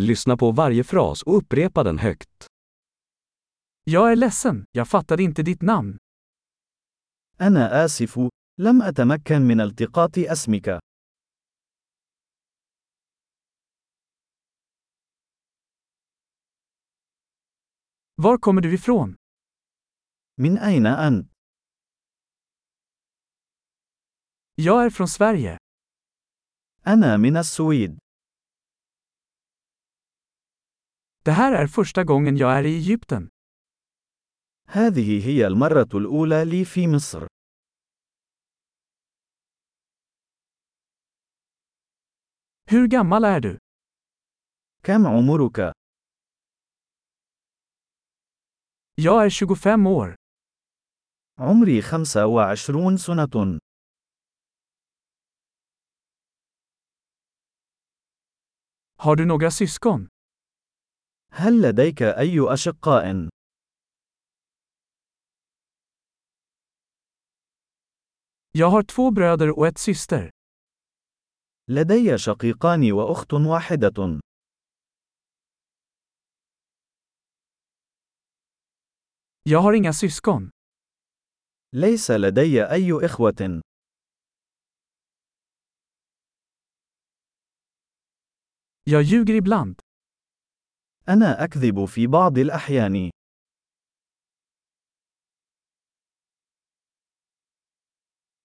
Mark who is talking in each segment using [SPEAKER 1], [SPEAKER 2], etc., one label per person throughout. [SPEAKER 1] Lyssna på varje fras och upprepa den högt.
[SPEAKER 2] Jag är ledsen, jag fattade inte ditt namn.
[SPEAKER 3] أنا آسف، لم أتمكن من التقاط اسمك.
[SPEAKER 2] Var kommer du ifrån?
[SPEAKER 3] من أين أنت؟
[SPEAKER 2] Jag är från Sverige.
[SPEAKER 3] أنا من السويد.
[SPEAKER 2] Det här är första gången jag är i Egypten.
[SPEAKER 3] هذه هي المرة الأولى لي في مصر.
[SPEAKER 2] Hur gammal är du?
[SPEAKER 3] كم عمرك؟
[SPEAKER 2] Jag är 25 år.
[SPEAKER 3] عمري 25 سنة.
[SPEAKER 2] Har du några syskon?
[SPEAKER 3] هل لديك أي أشقاء؟
[SPEAKER 2] Jag har två bröder och ett syster.
[SPEAKER 3] لدي شقيقان وأخت واحدة.
[SPEAKER 2] Jag har inga syskon.
[SPEAKER 3] ليس لدي أي إخوة.
[SPEAKER 2] Jag ljuger ibland.
[SPEAKER 3] أنا أكذب في بعض الأحيان.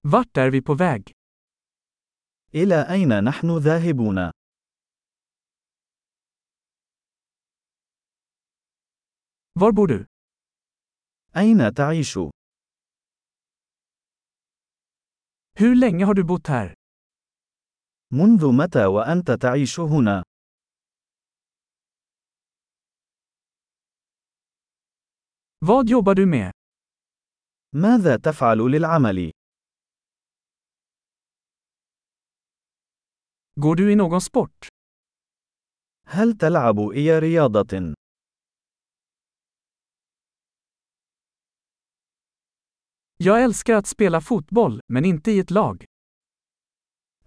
[SPEAKER 2] Vart är vi på väg?
[SPEAKER 3] إلى أين نحن ذاهبون؟
[SPEAKER 2] Var bor du?
[SPEAKER 3] أين تعيش؟
[SPEAKER 2] Hur länge har du bott här?
[SPEAKER 3] منذ متى وأنت تعيش هنا؟
[SPEAKER 2] Vad jobbar du med?
[SPEAKER 3] ماذا تفعل للعمل؟
[SPEAKER 2] Går du i någon sport?
[SPEAKER 3] هل تلعب أي رياضة؟
[SPEAKER 2] Jag älskar att spela fotboll, men inte i ett lag.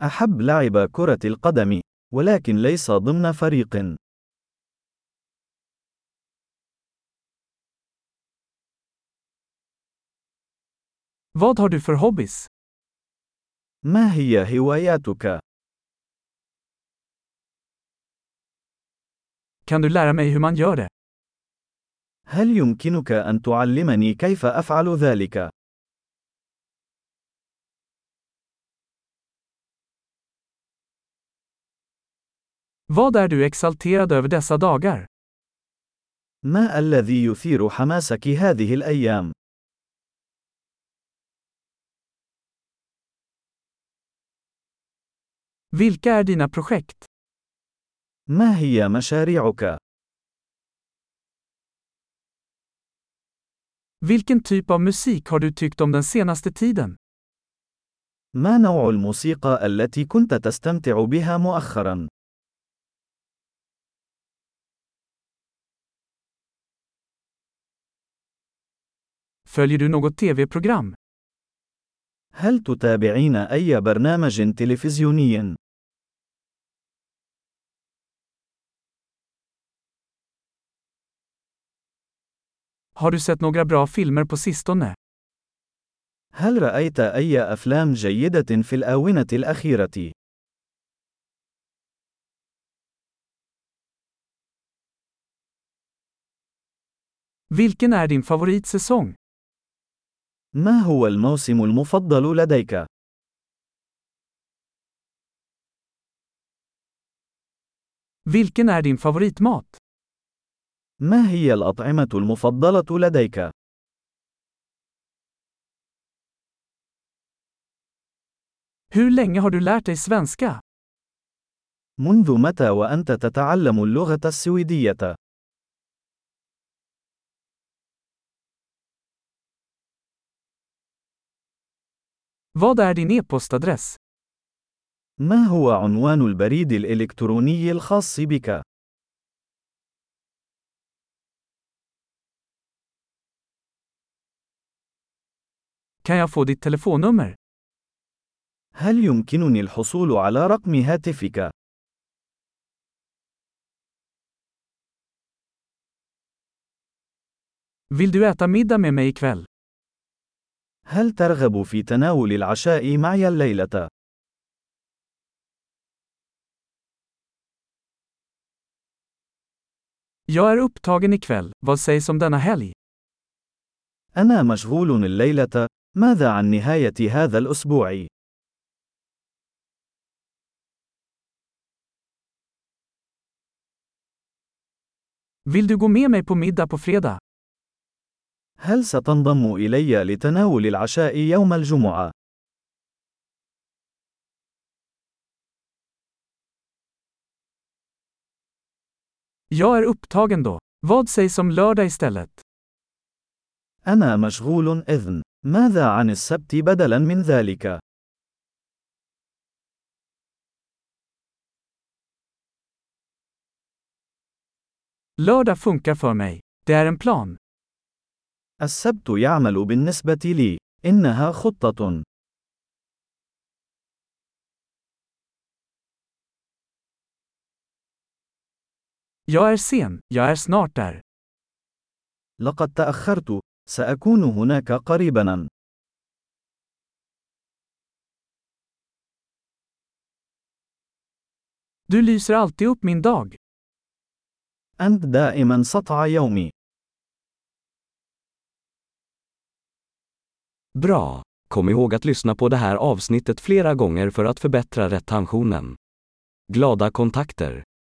[SPEAKER 3] أحب لعب كرة القدم، ولكن ليس ضمن فريق.
[SPEAKER 2] Vad har du för hobbys?
[SPEAKER 3] ما هي هواياتك؟
[SPEAKER 2] Kan du lära mig hur man gör det?
[SPEAKER 3] هل يمكنك أن تعلمني كيف أفعل ذلك؟
[SPEAKER 2] Vad är du exalterad över dessa dagar?
[SPEAKER 3] ما الذي يثير حماسك هذه الأيام؟
[SPEAKER 2] Vilka är dina projekt?
[SPEAKER 3] ما هي مشاريعك؟
[SPEAKER 2] Vilken typ av musik har du tyckt om den senaste tiden?
[SPEAKER 3] ما نوع الموسيقى التي كنت تستمتع بها مؤخرا؟
[SPEAKER 2] Följer du något tv-program?
[SPEAKER 3] هل تتابعين أي برنامج تلفزيوني؟
[SPEAKER 2] Har du sett några bra filmer på sistone?
[SPEAKER 3] هل رأيت أي أفلام جيدة في الآونة الأخيرة؟
[SPEAKER 2] Vilken är din favoritsäsong?
[SPEAKER 3] ما هو الموسم المفضل لديك؟
[SPEAKER 2] Vilken är din favoritmat?
[SPEAKER 3] ما هي الأطعمة المفضلة لديك؟
[SPEAKER 2] Hur länge har du lärt dig svenska?
[SPEAKER 3] منذ متى وأنت تتعلم اللغة السويدية؟
[SPEAKER 2] Vad är din e-postadress?
[SPEAKER 3] ما هو عنوان البريد الإلكتروني الخاص بك؟
[SPEAKER 2] Kan jag få ditt telefonnummer?
[SPEAKER 3] هل يمكنني الحصول على رقم هاتفك؟
[SPEAKER 2] Vill du äta middag med mig ikväll?
[SPEAKER 3] هل ترغب في تناول العشاء معي الليلة؟
[SPEAKER 2] Jag är upptagen ikväll. Vad sägs om denna helg?
[SPEAKER 3] أنا مشغول الليلة. ماذا عن نهاية هذا الأسبوع؟
[SPEAKER 2] Vill du gå med mig på middag på fredag?
[SPEAKER 3] هل ستنضم إلي لتناول العشاء يوم الجمعة؟
[SPEAKER 2] Jag är upptagen då. Vad sägs om lördag istället?
[SPEAKER 3] أنا مشغول إذن. ماذا عن السبت بدلاً من ذلك؟
[SPEAKER 2] Lördag funkar för mig. Det är en plan.
[SPEAKER 3] السبت يعمل بالنسبة لي. إنها خطة.
[SPEAKER 2] Jag är sen. Jag är snart där.
[SPEAKER 3] لقد تأخرت. سأكون هناك قريباً.
[SPEAKER 2] Du lyser alltid upp min dag.
[SPEAKER 3] أنت دائماً سطع يومي.
[SPEAKER 1] Bra! Kom ihåg att lyssna på det här avsnittet flera gånger för att förbättra retentionen. Glada kontakter!